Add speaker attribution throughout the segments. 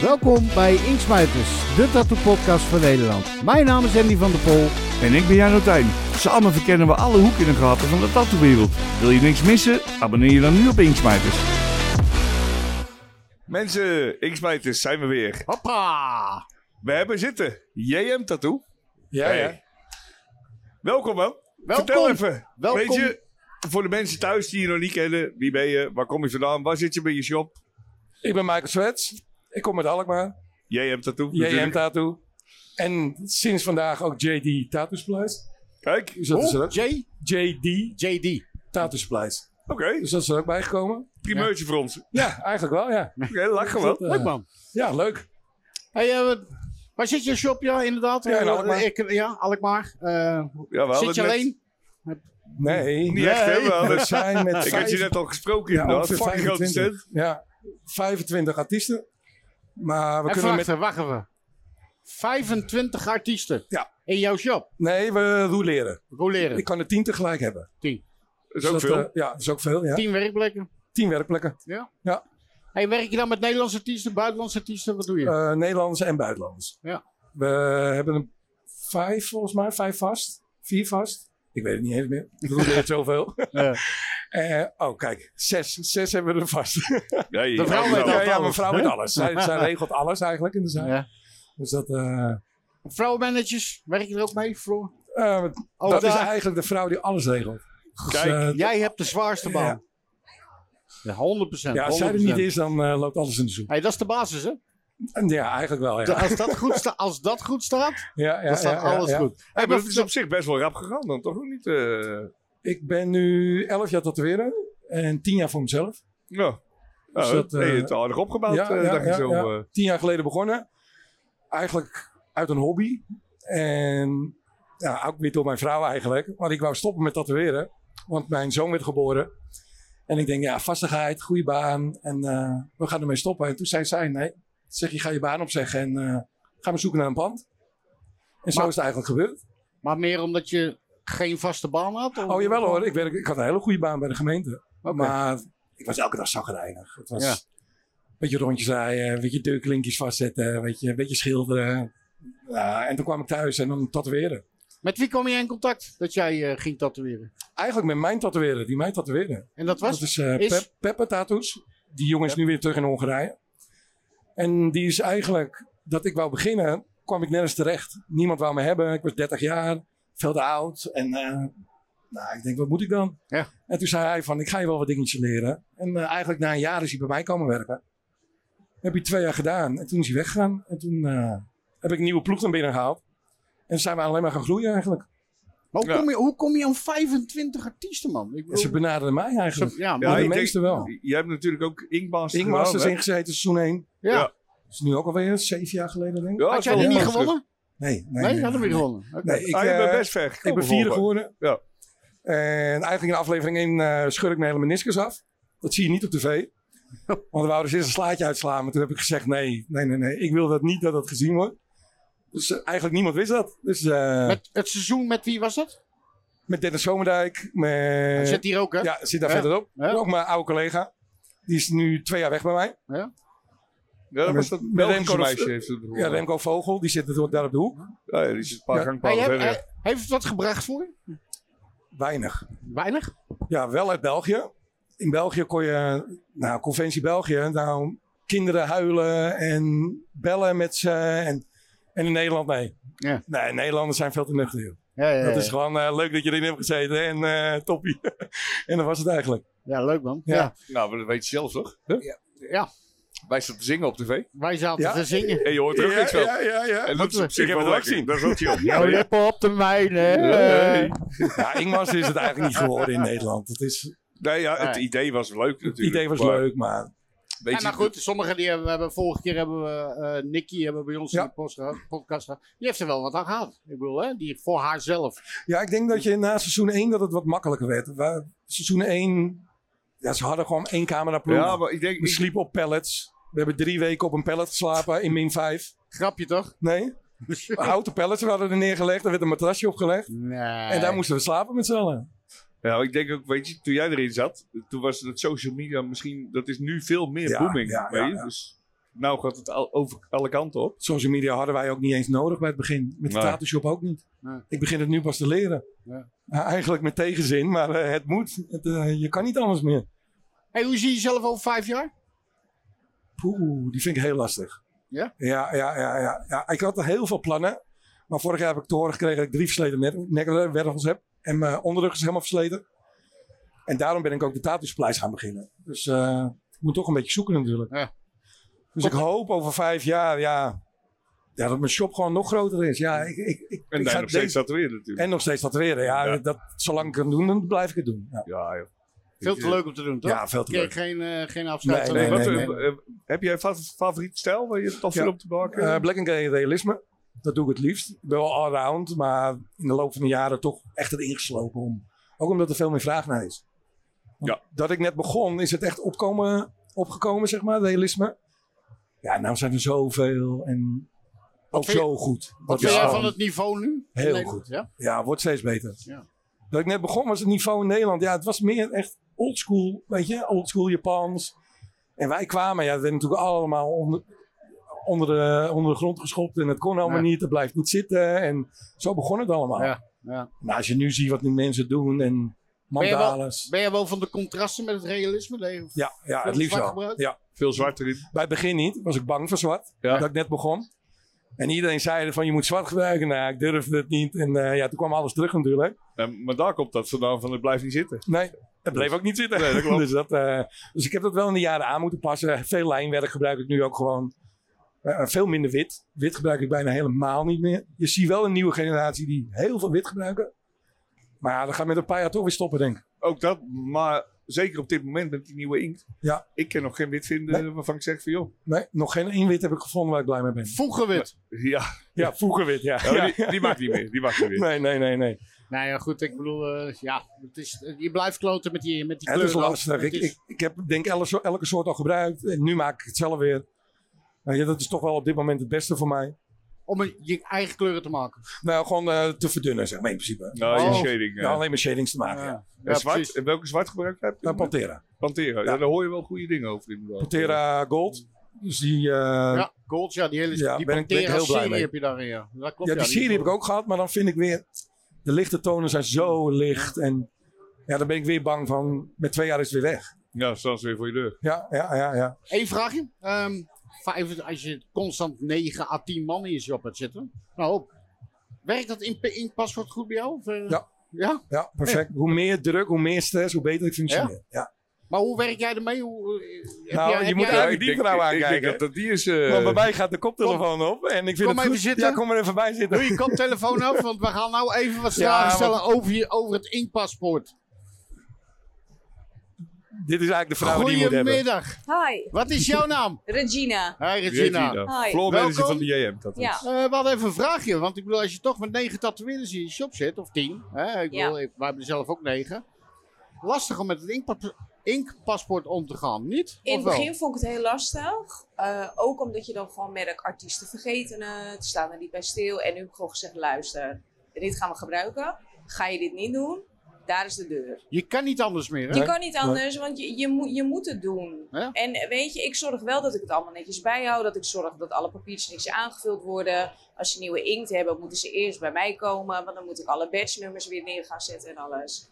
Speaker 1: Welkom bij Inksmuiters, de tattoo podcast van Nederland. Mijn naam is Andy van der Pol.
Speaker 2: En ik ben Jan Otijn. Samen verkennen we alle hoeken en gaten van de tattoowereld. Wil je niks missen? Abonneer je dan nu op Inksmijters. Mensen, Inksmijters zijn we weer.
Speaker 1: Hoppa!
Speaker 2: We hebben zitten. JM Tattoo.
Speaker 3: Ja,
Speaker 2: Hey.
Speaker 3: ja.
Speaker 2: Welkom man.
Speaker 1: Welkom.
Speaker 2: Vertel even.
Speaker 1: Welkom.
Speaker 2: Weet je, voor de mensen thuis die je nog niet kennen. Wie ben je? Waar kom je vandaan? Waar zit je bij je shop?
Speaker 3: Ik ben Michael Zwets. Ik kom uit Alkmaar.
Speaker 2: JM Tattoo.
Speaker 3: JM
Speaker 2: natuurlijk.
Speaker 3: Tattoo. En sinds vandaag ook JD Tattoo Supplies.
Speaker 2: Kijk.
Speaker 3: Dus
Speaker 2: Oké.
Speaker 1: Oh,
Speaker 3: dat is er ook.
Speaker 1: J?
Speaker 3: JD
Speaker 1: JD.
Speaker 3: Tattoo Supplies. Dus dat is er ook bijgekomen.
Speaker 2: Primeurtje voor ons.
Speaker 3: Ja, eigenlijk wel, ja.
Speaker 2: Oké, lachen
Speaker 3: Dat,
Speaker 2: wel.
Speaker 3: eh,
Speaker 1: Leuk man.
Speaker 3: Ja, leuk.
Speaker 1: Hey, eh, wat- waar zit je shop? Ja, inderdaad.
Speaker 3: Ja, in
Speaker 1: Eh,
Speaker 3: Alkmaar.
Speaker 1: Ik, ja, Alkmaar. Eh,
Speaker 2: Ja, we hadden
Speaker 1: zit je
Speaker 2: het net-
Speaker 1: alleen?
Speaker 3: Nee.
Speaker 2: Niet echt, hè? We hadden
Speaker 3: We zijn met
Speaker 2: Ik had je net al gesproken
Speaker 3: ja,
Speaker 2: inderdaad.
Speaker 3: ongeveer
Speaker 2: Fucking grote stand.
Speaker 3: 25, ja, 25 artiesten. Maar we
Speaker 1: Even
Speaker 3: kunnen
Speaker 1: wachten,
Speaker 3: met...
Speaker 1: wacht even. 25 artiesten
Speaker 3: Ja.
Speaker 1: in jouw shop.
Speaker 3: Nee, we roleren.
Speaker 1: Roleren.
Speaker 3: Ik kan er tien tegelijk hebben.
Speaker 2: Dat is ook
Speaker 3: Dus dat,
Speaker 2: veel.
Speaker 3: eh, ja, dat is ook veel, ja.
Speaker 1: 10 werkplekken.
Speaker 3: Tien werkplekken.
Speaker 1: Ja.
Speaker 3: Ja.
Speaker 1: Hey, werk je dan met Nederlandse artiesten, buitenlandse artiesten? Wat doe je?
Speaker 3: Eh, Nederlanders en buitenlanders.
Speaker 1: Ja.
Speaker 3: We hebben een vijf volgens mij, vijf vast, vier vast. Ik weet het niet eens meer. Ik bedoel, er is zoveel.
Speaker 1: Ja.
Speaker 3: Eh, oh, kijk, zes. Zes hebben we er vast.
Speaker 2: Ja, je-
Speaker 1: De vrouw
Speaker 2: ja,
Speaker 1: weet
Speaker 2: nou,
Speaker 3: ja,
Speaker 1: altijd
Speaker 3: ja,
Speaker 1: alles,
Speaker 3: mijn eh, vrouw
Speaker 1: hè?
Speaker 3: met alles. Zij, zij regelt alles eigenlijk in de zaak.
Speaker 1: ja.
Speaker 3: Dus dat, eh,
Speaker 1: Vrouwenmanagers, werk je er ook mee? Floor?
Speaker 3: eh,
Speaker 1: Oh,
Speaker 3: dat is
Speaker 1: daar.
Speaker 3: eigenlijk de vrouw die alles regelt. Dus,
Speaker 2: Kijk,
Speaker 3: eh,
Speaker 1: Jij hebt de zwaarste baan. Ja, 100%.
Speaker 3: ja, als zij er
Speaker 1: 100%.
Speaker 3: niet is, dan eh, loopt alles in de zoek.
Speaker 1: Hey, dat is de basis, hè?
Speaker 3: En ja, eigenlijk wel. Ja,
Speaker 1: Als, dat goed sta- als dat goed staat,
Speaker 3: ja, ja,
Speaker 1: dan staat
Speaker 3: ja, ja,
Speaker 1: alles
Speaker 3: ja.
Speaker 1: goed. Hey,
Speaker 2: Ja,
Speaker 1: maar
Speaker 2: maar dat is op zich best wel rap gegaan dan, toch? Of niet? eh
Speaker 3: Ik ben nu elf jaar tatoeëren en tien jaar voor mezelf.
Speaker 2: ja.
Speaker 3: Dus
Speaker 2: Nou,
Speaker 3: dat,
Speaker 2: dat, je
Speaker 3: eh,
Speaker 2: het aardig opgebouwd,
Speaker 3: ja,
Speaker 2: eh,
Speaker 3: ja,
Speaker 2: dacht
Speaker 3: ja,
Speaker 2: ik zo.
Speaker 3: ja.
Speaker 2: eh.
Speaker 3: tien jaar geleden begonnen. Eigenlijk uit een hobby. En ja, ook weer door mijn vrouw eigenlijk. Want ik wou stoppen met tatoeëren. Want mijn zoon werd geboren. En ik denk, ja, vastigheid, goede baan. En eh, we gaan ermee stoppen. En toen zei zij, nee. Toen Zeg, je ga je baan opzeggen en eh, ga maar zoeken naar een pand. En zo
Speaker 1: Maar-
Speaker 3: is het eigenlijk gebeurd.
Speaker 1: Maar meer omdat je geen vaste baan had? Of?
Speaker 3: Oh jawel hoor, ik, werk, ik had een hele goede baan bij de gemeente.
Speaker 1: Oké.
Speaker 3: Maar ik was elke dag zagrijnig. Het was
Speaker 1: Ja.
Speaker 3: een beetje rondjes draaien, een beetje deuklinkjes vastzetten, een beetje, een beetje schilderen. Ja, en toen kwam ik thuis en dan tatoeëren.
Speaker 1: Met wie kwam je in contact dat jij eh, ging tatoeëren?
Speaker 3: Eigenlijk met mijn tatoeëren, die mij tatoeëren.
Speaker 1: En dat
Speaker 3: Dat
Speaker 1: was?
Speaker 3: is eh
Speaker 1: Is-
Speaker 3: Pep, Peppa Tattoos. Die jongen is nu weer terug in Hongarije. En die is eigenlijk, dat ik wou beginnen, kwam ik nergens terecht. Niemand wou me hebben. Ik was 30 jaar, veel te oud. En eh, nou, ik denk, wat moet ik dan?
Speaker 1: Ja.
Speaker 3: En toen zei hij van, ik ga je wel wat dingetjes leren. En eh, eigenlijk na een jaar is hij bij mij komen werken. Heb hij twee jaar gedaan. En toen is hij weggegaan. En toen eh, heb ik een nieuwe ploeg naar binnen gehaald. En zijn we alleen maar gaan groeien eigenlijk.
Speaker 1: Maar hoe,
Speaker 2: Ja.
Speaker 1: kom je, hoe kom je aan 25 artiesten, man? Ik
Speaker 3: En ze benaderden mij eigenlijk.
Speaker 1: Zo- ja,
Speaker 2: Ja,
Speaker 1: maar,
Speaker 3: Maar de
Speaker 2: ik denk-
Speaker 3: meeste wel.
Speaker 2: Jij hebt natuurlijk ook Inkmasters
Speaker 3: Ik
Speaker 2: gedaan,
Speaker 3: was dus
Speaker 2: hè?
Speaker 3: ingezeten seizoen 1.
Speaker 1: ja.
Speaker 2: ja.
Speaker 3: Dat is nu ook alweer zeven jaar geleden, denk ik.
Speaker 2: Ja,
Speaker 1: Had
Speaker 2: dat
Speaker 1: jij
Speaker 2: is
Speaker 1: die
Speaker 2: wel
Speaker 1: niet
Speaker 2: lastig.
Speaker 1: gewonnen?
Speaker 3: Nee, nee.
Speaker 1: Nee,
Speaker 3: nee.
Speaker 1: hadden we niet gewonnen. Oké.
Speaker 3: Nee, ik,
Speaker 2: Ah, je bent
Speaker 3: eh,
Speaker 2: best ver
Speaker 3: ik
Speaker 2: gekomen,
Speaker 3: ben vierde
Speaker 2: volgens
Speaker 3: geworden.
Speaker 2: Ja.
Speaker 3: En eigenlijk in aflevering 1 scheur ik mijn hele meniscus af. Dat zie je niet op tv. Want we wouden dus eerst een slaatje uitslaan. Maar toen heb ik gezegd, nee, nee, nee, nee. Ik wil dat niet dat dat gezien wordt. Dus eh, eigenlijk niemand wist dat. Dus eh, met,
Speaker 1: Met het seizoen met wie was dat?
Speaker 3: Dennis Zomerdijk.
Speaker 1: Hij
Speaker 3: Met,
Speaker 1: zit hier ook, hè?
Speaker 3: Eh, ja, zit daar
Speaker 1: Ja.
Speaker 3: verderop.
Speaker 1: Ja.
Speaker 3: Ook mijn oude collega. Die is nu twee jaar weg bij mij.
Speaker 2: Ja, dat
Speaker 3: Met-
Speaker 2: was dat
Speaker 3: met
Speaker 2: Belgische
Speaker 3: Remco nog-
Speaker 2: meisje heeft het Ah,
Speaker 3: Ja, Remco Vogel, die zit natuurlijk daar op de hoek.
Speaker 2: Ja, die is een paar
Speaker 3: Ja.
Speaker 1: Hij
Speaker 2: gangpaden
Speaker 1: heeft-
Speaker 2: verder.
Speaker 1: hij- eh, heeft het wat gebracht voor je?
Speaker 3: Weinig.
Speaker 1: Weinig.
Speaker 3: Ja, wel uit België. In België kon je, nou, conventie België, nou, kinderen huilen en bellen met ze. En, en in Nederland, nee.
Speaker 1: Ja.
Speaker 3: Nee, Nederlanders zijn veel te nuchter. joh.
Speaker 1: Ja, ja,
Speaker 3: Dat
Speaker 1: ja.
Speaker 3: is gewoon eh, leuk dat je erin hebt gezeten en eh, toppie. en dat was het eigenlijk.
Speaker 1: ja leuk man.
Speaker 3: Ja.
Speaker 1: Ja.
Speaker 2: Nou, maar dat weet je zelf toch?
Speaker 1: Ja,
Speaker 2: Wij staan te zingen op tv.
Speaker 1: wij zaten
Speaker 3: Ja.
Speaker 1: te zingen.
Speaker 2: En je hoort er ook
Speaker 3: ja,
Speaker 2: niks van.
Speaker 3: ja, ja, ja.
Speaker 2: En dat is op
Speaker 1: Ik
Speaker 2: zich
Speaker 3: heb
Speaker 2: wel
Speaker 3: het ook
Speaker 2: lekker.
Speaker 3: gezien.
Speaker 2: Dat is ook chill.
Speaker 1: Jouw
Speaker 2: Ja, ja.
Speaker 1: lippen op de mijne.
Speaker 2: Nee.
Speaker 3: ja Ingmars is het eigenlijk niet geworden in Nederland. Het is,
Speaker 2: Nee, ja, het
Speaker 1: Nee.
Speaker 2: idee was leuk natuurlijk.
Speaker 3: het idee was
Speaker 2: maar
Speaker 3: leuk, maar
Speaker 2: weet
Speaker 1: Ja,
Speaker 2: je-
Speaker 1: nou goed, sommigen die hebben, we hebben vorige keer hebben we eh, Nicky hebben we bij ons
Speaker 3: Ja.
Speaker 1: in de post gehad- podcast gehad. Die heeft er wel wat aan gehad. Ik bedoel, hè, die voor haarzelf.
Speaker 3: Ja, ik denk dat je na seizoen 1 dat het wat makkelijker werd. Waar- Seizoen 1, ja, ze hadden gewoon één cameraploeg.
Speaker 2: Ja, maar ik denk...
Speaker 3: We
Speaker 2: Ik,
Speaker 3: sliepen op pallets. We hebben drie weken op een pallet geslapen in min 5.
Speaker 1: Grapje toch?
Speaker 3: Nee, houten pallets we hadden er neergelegd. Er werd een matrasje opgelegd.
Speaker 1: nee.
Speaker 3: En daar moesten we slapen met z'n allen.
Speaker 2: ja, ik denk ook, weet je, toen jij erin zat, toen was dat social media misschien... Dat is nu veel meer
Speaker 3: Ja,
Speaker 2: booming,
Speaker 3: ja,
Speaker 2: weet
Speaker 3: ja,
Speaker 2: je?
Speaker 3: ja.
Speaker 2: Dus nou gaat het al, over alle kanten op.
Speaker 3: Social media hadden wij ook niet eens nodig bij het begin. Met de
Speaker 2: Nee.
Speaker 3: tattoo shop ook niet.
Speaker 1: Nee.
Speaker 3: Ik begin het nu pas te leren.
Speaker 1: Ja.
Speaker 3: Nou, eigenlijk met tegenzin, maar eh, het moet. Het, eh, je kan niet anders meer.
Speaker 1: Hey, hoe zie je jezelf over vijf jaar?
Speaker 3: Poeh, die vind ik heel lastig.
Speaker 1: Ja?
Speaker 3: Ja, ja, ja, ja, ja. Ik had heel veel plannen. Maar vorig jaar heb ik te horen gekregen dat ik drie versleten nek- nekwervels heb. En mijn onderrug is helemaal versleten. En daarom ben ik ook de tatoeagepleis gaan beginnen. Dus eh, ik moet toch een beetje zoeken natuurlijk.
Speaker 1: Ja.
Speaker 3: Dus ik hoop over vijf jaar, ja, ja, dat mijn shop gewoon nog groter is. Ja, ik, ik, ik,
Speaker 2: En
Speaker 3: ik
Speaker 2: daar
Speaker 3: ga
Speaker 2: nog steeds
Speaker 3: deze-
Speaker 2: tatoeëren natuurlijk.
Speaker 3: en nog steeds tatoeëren. Ja,
Speaker 2: Ja.
Speaker 3: Dat, zolang ik het kan doen, dan blijf ik het doen. Ja,
Speaker 2: Ja, joh.
Speaker 1: Veel te leuk om te doen, toch?
Speaker 3: eh, ja veel te
Speaker 1: Kijk,
Speaker 3: leuk.
Speaker 1: geen, eh geen afscheid.
Speaker 2: Nee,
Speaker 3: Nee,
Speaker 1: van-
Speaker 2: wat,
Speaker 3: nee,
Speaker 2: eh, eh, heb jij een fa- favoriete stijl waar je tof
Speaker 3: Ja.
Speaker 2: vindt op te maken?
Speaker 3: Eh, black and gray realisme. Dat doe ik het liefst. Ik ben wel allround, maar in de loop van de jaren toch echt erin geslopen. Om, ook omdat er veel meer vraag naar is. Want
Speaker 2: Ja.
Speaker 3: Dat ik net begon, is het echt opkomen, opgekomen, zeg maar, realisme. Ja, nou zijn er zoveel en ook
Speaker 1: vind je-
Speaker 3: zo goed. Dat
Speaker 1: Wat
Speaker 3: is
Speaker 1: vind jij
Speaker 3: gewoon-
Speaker 1: van het niveau nu?
Speaker 3: Heel
Speaker 1: In Nederland,
Speaker 3: goed.
Speaker 1: Ja?
Speaker 3: Ja, wordt steeds beter.
Speaker 1: Ja.
Speaker 3: Dat ik net begon was het niveau in Nederland. Ja, het was meer echt oldschool, weet je, oldschool Japans. En wij kwamen, ja, we werden natuurlijk allemaal onder, onder, de, onder de grond geschopt. En het kon allemaal
Speaker 1: Ja.
Speaker 3: niet, het blijft niet zitten. En zo begon het allemaal.
Speaker 1: Ja, ja.
Speaker 3: Maar als je nu ziet wat die mensen doen en
Speaker 1: je wel-
Speaker 3: mandalas.
Speaker 1: Ben jij wel van de contrasten met het realisme? Nee, of-
Speaker 3: Ja, ja, het
Speaker 1: Veel
Speaker 3: liefst
Speaker 1: zwart
Speaker 3: wel.
Speaker 1: gebruikt?
Speaker 3: Ja.
Speaker 2: Veel zwart erin.
Speaker 3: Bij het begin niet, was ik bang voor zwart.
Speaker 2: Ja.
Speaker 3: Dat ik net begon. En iedereen zei van je moet zwart gebruiken. Nou, ik durfde het niet. En eh, ja, toen kwam alles terug natuurlijk.
Speaker 2: Eh, maar daar komt dat vandaan van het blijft niet zitten.
Speaker 3: Nee, het bleef ook niet zitten.
Speaker 2: Nee, dat klopt.
Speaker 3: dus, dat, eh, dus ik heb dat wel in de jaren aan moeten passen. Veel lijnwerk gebruik ik nu ook gewoon. Eh, eh, veel minder wit. Wit gebruik ik bijna helemaal niet meer. Je ziet wel een nieuwe generatie die heel veel wit gebruiken. Maar ja, dat gaat met een paar jaar toch weer stoppen, denk ik.
Speaker 2: Ook dat, maar zeker op dit moment met die nieuwe inkt.
Speaker 3: Ja.
Speaker 2: Ik kan nog geen wit vinden waarvan ik zeg van joh.
Speaker 3: Nee, nog geen één wit heb ik gevonden waar ik blij mee ben.
Speaker 1: Vroeger wit.
Speaker 2: Ja,
Speaker 3: Ja, vroeger wit, ja.
Speaker 2: Ja,
Speaker 3: Ja.
Speaker 2: Die, die mag niet meer. Die mag niet meer.
Speaker 3: Nee, nee, nee, nee.
Speaker 1: Nou ja, goed, ik bedoel, eh, ja, het is, je blijft kloten met die, met die
Speaker 3: Het is
Speaker 1: kleuren.
Speaker 3: lastig.
Speaker 1: Het
Speaker 3: Ik,
Speaker 1: is-
Speaker 3: ik, ik heb denk elke, so- elke soort al gebruikt. En nu maak ik het zelf weer. Nou ja, dat is toch wel op dit moment het beste voor mij.
Speaker 1: Om een- je eigen kleuren te maken.
Speaker 3: Nou, gewoon eh, te verdunnen, zeg maar in principe.
Speaker 2: Nou, je
Speaker 1: Oh.
Speaker 2: shading. eh.
Speaker 3: Ja, alleen maar shadings te maken. Ah, Ja.
Speaker 1: Ja,
Speaker 2: En zwart,
Speaker 1: precies.
Speaker 2: en welke zwart gebruik heb je?
Speaker 3: Eh, Pantera.
Speaker 2: Pantera. Ja.
Speaker 3: Ja.
Speaker 2: daar hoor je wel goede dingen over. inderdaad.
Speaker 3: Pantera Gold. Dus die, eh, ja,
Speaker 1: Ja, gold, ja, die hele
Speaker 3: Ja,
Speaker 1: die
Speaker 3: ben ik- ben ik heel blij
Speaker 1: Pantera-serie
Speaker 3: mee.
Speaker 1: heb je daarin, ja. Dat klopt,
Speaker 3: die serie heb ik ook gehad, maar dan vind ik weer... De lichte tonen zijn zo licht en... Ja, dan ben ik weer bang van, met twee jaar is het weer weg.
Speaker 2: Ja, staan ze weer voor je deur.
Speaker 3: Ja, ja, ja, ja.
Speaker 1: Eén vraagje. Ehm, vijf- als je constant 9 à 10 man in je job hebt zitten. Nou, werkt dat in, in paswoord goed bij jou? Of, eh,
Speaker 3: Ja.
Speaker 1: ja.
Speaker 3: Ja, perfect. Hoe meer druk, hoe meer stress, hoe beter ik functioneer. Ja.
Speaker 1: Maar hoe werk jij ermee? Hoe, eh, heb
Speaker 3: Nou,
Speaker 1: jij-
Speaker 3: je
Speaker 1: heb
Speaker 3: moet
Speaker 1: jij-
Speaker 3: Ja,
Speaker 2: ik
Speaker 3: die
Speaker 2: denk-
Speaker 3: vrouw
Speaker 2: ik- Ik
Speaker 3: aankijken.
Speaker 2: denk dat dat die is... eh,
Speaker 3: Want bij mij gaat de koptelefoon op en ik
Speaker 1: kom
Speaker 3: vind het
Speaker 1: even
Speaker 3: goed.
Speaker 1: zitten.
Speaker 3: Ja, kom maar even bij zitten.
Speaker 1: Doe je koptelefoon af, want we gaan nou even wat
Speaker 3: Ja,
Speaker 1: vragen
Speaker 3: maar-
Speaker 1: stellen over, je, over het inkpaspoort.
Speaker 3: Dit is eigenlijk de vrouw Nou, die je moet hebben.
Speaker 1: Goedemiddag.
Speaker 4: Hi,
Speaker 1: Wat is jouw naam?
Speaker 4: Regina.
Speaker 1: Hi Regina.
Speaker 2: Regina.
Speaker 4: Hi.
Speaker 2: Floor manager
Speaker 1: Welkom.
Speaker 2: van de JM. Dat is.
Speaker 4: Ja.
Speaker 1: Eh, we hadden even een vraagje, want ik bedoel, als je toch met negen tatoeëerders in je shop zit, of tien, hè, ik
Speaker 4: Ja.
Speaker 1: bedoel, ik- wij hebben er zelf ook negen, lastig om met het inkpa- inkpaspoort om te gaan, niet?
Speaker 4: In
Speaker 1: Of
Speaker 4: het
Speaker 1: wel?
Speaker 4: begin vond ik het heel lastig. Eh, ook omdat je dan gewoon merkt, artiesten vergeten het, staan er niet bij stil. En nu heb ik gewoon gezegd, luister, dit gaan we gebruiken. Ga je dit niet doen, daar is de deur.
Speaker 1: Je kan niet anders meer, hè?
Speaker 4: Je kan niet anders, want je, je, moet, je moet het doen.
Speaker 1: Ja.
Speaker 4: En weet je, ik zorg wel dat ik het allemaal netjes bijhoud. Dat ik zorg dat alle papiertjes niks aangevuld worden. Als ze nieuwe inkt hebben, moeten ze eerst bij mij komen. Want dan moet ik alle batchnummers weer neer gaan zetten en alles.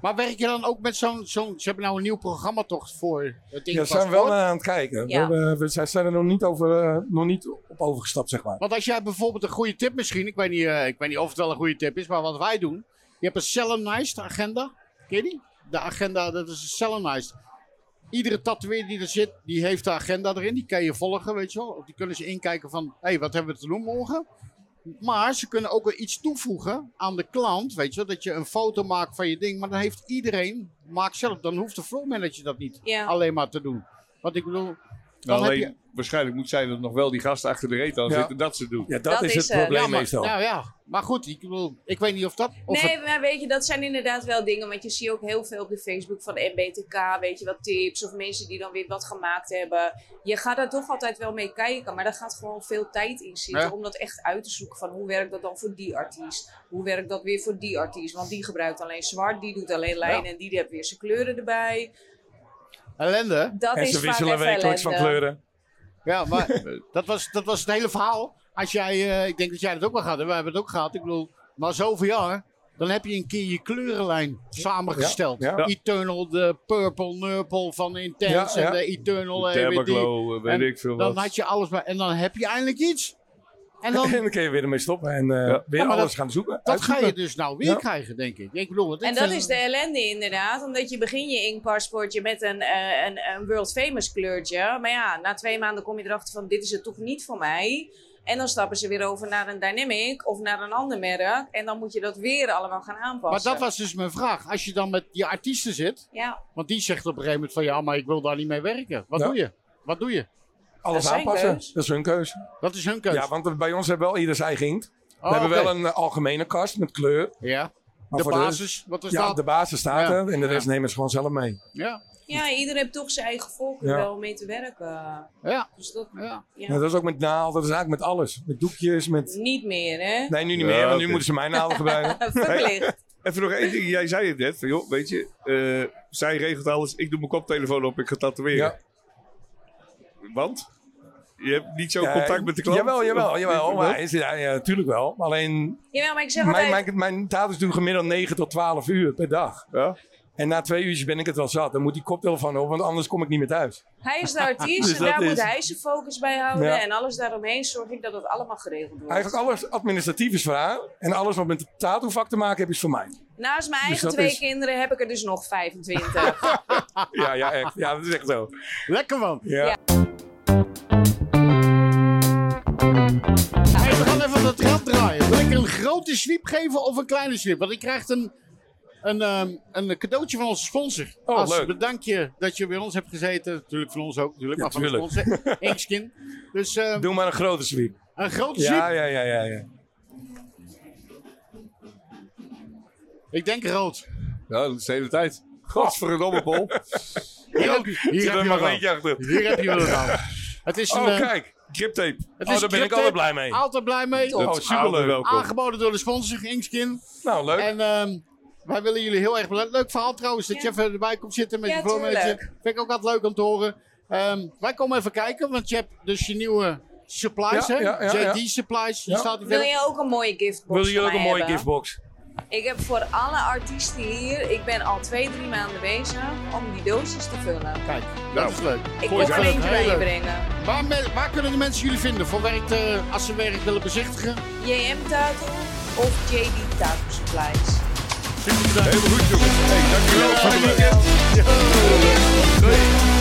Speaker 1: Maar werk je dan ook met zo'n, zo'n, ze hebben nou een nieuw programma toch voor het
Speaker 3: Ja, daar
Speaker 1: inkpaspoort?
Speaker 3: zijn we wel naar aan het kijken.
Speaker 4: Ja.
Speaker 3: We, hebben- we zijn- zijn er nog niet, over, eh, nog niet op overgestapt, zeg maar.
Speaker 1: Want als jij bijvoorbeeld een goede tip misschien, ik weet, niet, eh, ik weet niet of het wel een goede tip is, maar wat wij doen. Je hebt een Selenized agenda, ken je die? De agenda, dat is een Selenized. Iedere tatoeëer die er zit, die heeft de agenda erin. Die kan je volgen, weet je wel. Of Die kunnen ze inkijken van, hé, hey, wat hebben we te doen morgen? Maar ze kunnen ook wel iets toevoegen aan de klant, weet je wel. Dat je een foto maakt van je ding, maar dan heeft iedereen, maak zelf. Dan hoeft de floormanager dat niet
Speaker 4: Ja.
Speaker 1: alleen maar te doen. Want ik bedoel, dan
Speaker 2: Nou,
Speaker 1: heb
Speaker 2: alleen,
Speaker 1: je...
Speaker 2: waarschijnlijk moet zij er nog wel die gast achter de reet aan
Speaker 3: Ja.
Speaker 2: zitten dat ze doen.
Speaker 3: Ja, dat,
Speaker 4: Dat
Speaker 3: is
Speaker 4: is,
Speaker 3: het
Speaker 4: eh,
Speaker 3: probleem
Speaker 1: ja, maar,
Speaker 3: meestal.
Speaker 1: nou ja, maar goed, ik, bedoel, ik weet niet of dat... Of het-
Speaker 4: nee, maar weet je, dat zijn inderdaad wel dingen. Want je ziet ook heel veel op de Facebook van MBTK, weet je wat tips. Of mensen die dan weer wat gemaakt hebben. Je gaat daar toch altijd wel mee kijken. Maar daar gaat gewoon veel tijd in zitten.
Speaker 1: Ja.
Speaker 4: Om dat echt uit te zoeken. Van hoe werkt dat dan voor die artiest? Hoe werkt dat weer voor die artiest? Want die gebruikt alleen zwart. Die doet alleen lijnen. En die heeft weer zijn kleuren erbij.
Speaker 1: Ellende.
Speaker 4: Dat
Speaker 3: en
Speaker 4: is
Speaker 3: ze
Speaker 4: vaak
Speaker 3: wisselen
Speaker 4: even
Speaker 3: wekelijks van
Speaker 4: ellende.
Speaker 3: kleuren.
Speaker 1: Ja, maar dat was, dat was het hele verhaal. Als jij, eh, ik denk dat jij dat ook wel gehad hebt, wij hebben het ook gehad. Ik bedoel, maar zoveel jaar, dan heb je een keer je kleurenlijn samengesteld.
Speaker 3: Ja, ja.
Speaker 1: Eternal, de Purple, Nurple van Intense
Speaker 3: Ja, ja.
Speaker 1: en de Eternal. eh, weet die.
Speaker 2: Tabaglow, eh, weet
Speaker 1: En
Speaker 2: ik veel
Speaker 1: Dan
Speaker 2: wat.
Speaker 1: had je alles, maar, en dan heb je eindelijk iets. En dan,
Speaker 3: En dan kun je weer ermee stoppen en eh,
Speaker 2: Ja,
Speaker 3: weer
Speaker 1: maar dat-
Speaker 3: alles gaan zoeken.
Speaker 1: dat ga je
Speaker 3: uitzoeken.
Speaker 1: dus nou weer
Speaker 3: Ja.
Speaker 1: krijgen, denk ik. ik bedoel, want ik
Speaker 4: En dat
Speaker 1: vind-
Speaker 4: is de ellende inderdaad, omdat je begin je inkpaspoortje met een, eh, een, een world famous kleurtje. Maar ja, na twee maanden kom je erachter van dit is het toch niet voor mij. En dan stappen ze weer over naar een Dynamic of naar een ander merk. En dan moet je dat weer allemaal gaan
Speaker 1: Maar
Speaker 4: aanpassen.
Speaker 1: dat was dus mijn vraag. Als je dan met die artiesten zit,
Speaker 4: Ja,
Speaker 1: want die zegt op een gegeven moment van ja, maar ik wil daar niet mee werken. Wat
Speaker 3: Ja.
Speaker 1: doe je? Wat doe je?
Speaker 3: Alles
Speaker 4: Dat is zijn
Speaker 3: aanpassen,
Speaker 4: keus.
Speaker 3: dat is hun keuze.
Speaker 1: Dat is hun keuze.
Speaker 3: Ja, want bij ons hebben wel ieder zijn eigen inkt. We
Speaker 1: Oh,
Speaker 3: hebben
Speaker 1: oké.
Speaker 3: wel een eh, algemene kast met kleur.
Speaker 1: Ja,
Speaker 3: Maar
Speaker 1: de
Speaker 3: voor rest-
Speaker 1: basis. Wat was
Speaker 3: ja,
Speaker 1: Dus dat?
Speaker 3: de basis staat
Speaker 1: Ja.
Speaker 3: er en de rest
Speaker 1: Ja.
Speaker 3: nemen ze gewoon zelf mee.
Speaker 1: Ja,
Speaker 4: ja ieder heeft toch zijn eigen voorkeur
Speaker 3: Ja.
Speaker 4: om mee te werken.
Speaker 1: ja,
Speaker 4: Dus dat,
Speaker 1: ja.
Speaker 4: ja.
Speaker 3: Ja, Nou, dat is ook met naald, dat is eigenlijk met alles. Met doekjes, met...
Speaker 4: Niet meer, hè?
Speaker 3: Nee, nu niet
Speaker 2: Ja,
Speaker 3: meer, want
Speaker 2: oké.
Speaker 3: nu moeten ze mijn naalden gebruiken.
Speaker 4: Verplicht.
Speaker 2: Even nog één ding. Jij zei het net. Van, joh, weet je, eh, zij regelt alles. Ik doe mijn koptelefoon op. Ik ga tatoeëren.
Speaker 3: Ja.
Speaker 2: Want? Je hebt niet zo
Speaker 3: Ja,
Speaker 2: contact met de klant?
Speaker 3: Jawel, jawel, jawel.
Speaker 2: Wat?
Speaker 3: Maar is, ja, ja, natuurlijk wel. Maar Alleen,
Speaker 4: Jawel, maar ik zeg altijd...
Speaker 3: mijn, mijn, mijn tattoos doen gemiddeld 9 tot 12 uur per dag.
Speaker 2: Ja?
Speaker 3: En na twee uurtjes ben ik het wel zat. Dan moet die koptelefoon op, want anders kom ik niet meer thuis.
Speaker 4: Hij is de artiest
Speaker 2: Dus
Speaker 4: en
Speaker 2: dat
Speaker 4: daar moet
Speaker 2: is-
Speaker 4: hij zijn focus bij houden.
Speaker 3: Ja.
Speaker 4: En alles daaromheen zorg ik dat het allemaal geregeld wordt.
Speaker 3: Eigenlijk alles administratief is voor haar. En alles wat met het tattoo-vak te maken heeft, is voor mij.
Speaker 4: Naast mijn eigen
Speaker 3: Dus dat
Speaker 4: twee
Speaker 3: is-
Speaker 4: kinderen heb ik er dus nog 25.
Speaker 3: Ja, ja, echt. Ja, dat is echt zo.
Speaker 1: Lekker man.
Speaker 3: Ja.
Speaker 4: Ja.
Speaker 1: Hey, we gaan even dat rad draaien. Wil ik een grote sweep geven of een kleine sweep? Want ik krijg een, een, ehm, een cadeautje van onze sponsor.
Speaker 3: Oh,
Speaker 1: Als
Speaker 3: leuk.
Speaker 1: bedankje dat je bij ons hebt gezeten. Natuurlijk van ons ook, natuurlijk,
Speaker 3: Ja,
Speaker 1: maar van de
Speaker 3: tuurlijk.
Speaker 1: sponsor. Inkskin. Dus ehm,
Speaker 3: Doe maar een grote sweep.
Speaker 1: een grote sweep.
Speaker 3: Ja, ja, ja, ja. ja.
Speaker 1: Ik denk rood.
Speaker 2: Ja, dat is de hele tijd. Godverdomme, Paul.
Speaker 1: Hier heb je,
Speaker 2: Zit
Speaker 1: hier
Speaker 2: er
Speaker 1: heb je
Speaker 2: maar
Speaker 1: wel
Speaker 2: eentje achter.
Speaker 1: Hier heb je wel aan. Het is een...
Speaker 2: Oh,
Speaker 1: eh,
Speaker 2: kijk. Griptape.
Speaker 1: het
Speaker 3: Oh,
Speaker 1: is
Speaker 3: daar ben ik
Speaker 1: crypto.
Speaker 3: altijd blij mee.
Speaker 1: Altijd blij mee.
Speaker 4: Top.
Speaker 3: Oh, superleuk.
Speaker 2: Welkom.
Speaker 1: Aangeboden door de sponsor, Inkskin.
Speaker 3: Nou, leuk.
Speaker 1: En ehm, wij willen jullie heel erg bedanken. Leuk verhaal trouwens, dat
Speaker 4: Ja.
Speaker 1: je even erbij komt zitten met
Speaker 4: Ja,
Speaker 1: je voormanager.
Speaker 4: tuurlijk.
Speaker 1: Vind ik ook altijd leuk om te horen. Ehm, wij komen even kijken, want je hebt dus je nieuwe supplies,
Speaker 3: Ja,
Speaker 1: hè?
Speaker 3: ja, ja, ja.
Speaker 1: JD Supplies. Die
Speaker 3: Ja.
Speaker 1: staat hier
Speaker 4: Wil
Speaker 1: verder.
Speaker 4: je ook een mooie giftbox
Speaker 3: Willen jullie ook
Speaker 4: van
Speaker 3: een
Speaker 4: mij
Speaker 3: mooie
Speaker 4: hebben?
Speaker 3: giftbox?
Speaker 4: Ik heb voor alle artiesten hier, ik ben al twee, drie maanden bezig om die doosjes te vullen.
Speaker 1: Kijk, dat
Speaker 2: Nou,
Speaker 1: is leuk.
Speaker 4: Ik
Speaker 1: Goeie
Speaker 4: kom er
Speaker 1: zaak.
Speaker 4: eentje bij
Speaker 1: Heel
Speaker 4: je
Speaker 1: leuk.
Speaker 4: brengen.
Speaker 1: Waar, me- waar kunnen de mensen jullie vinden voor werk, eh, als ze werk willen bezichtigen?
Speaker 4: JM Tattoo of JD Tattoo Supplies.
Speaker 2: Helemaal goed, jongens. Hey, dankjewel. Fijn weekend. Doei.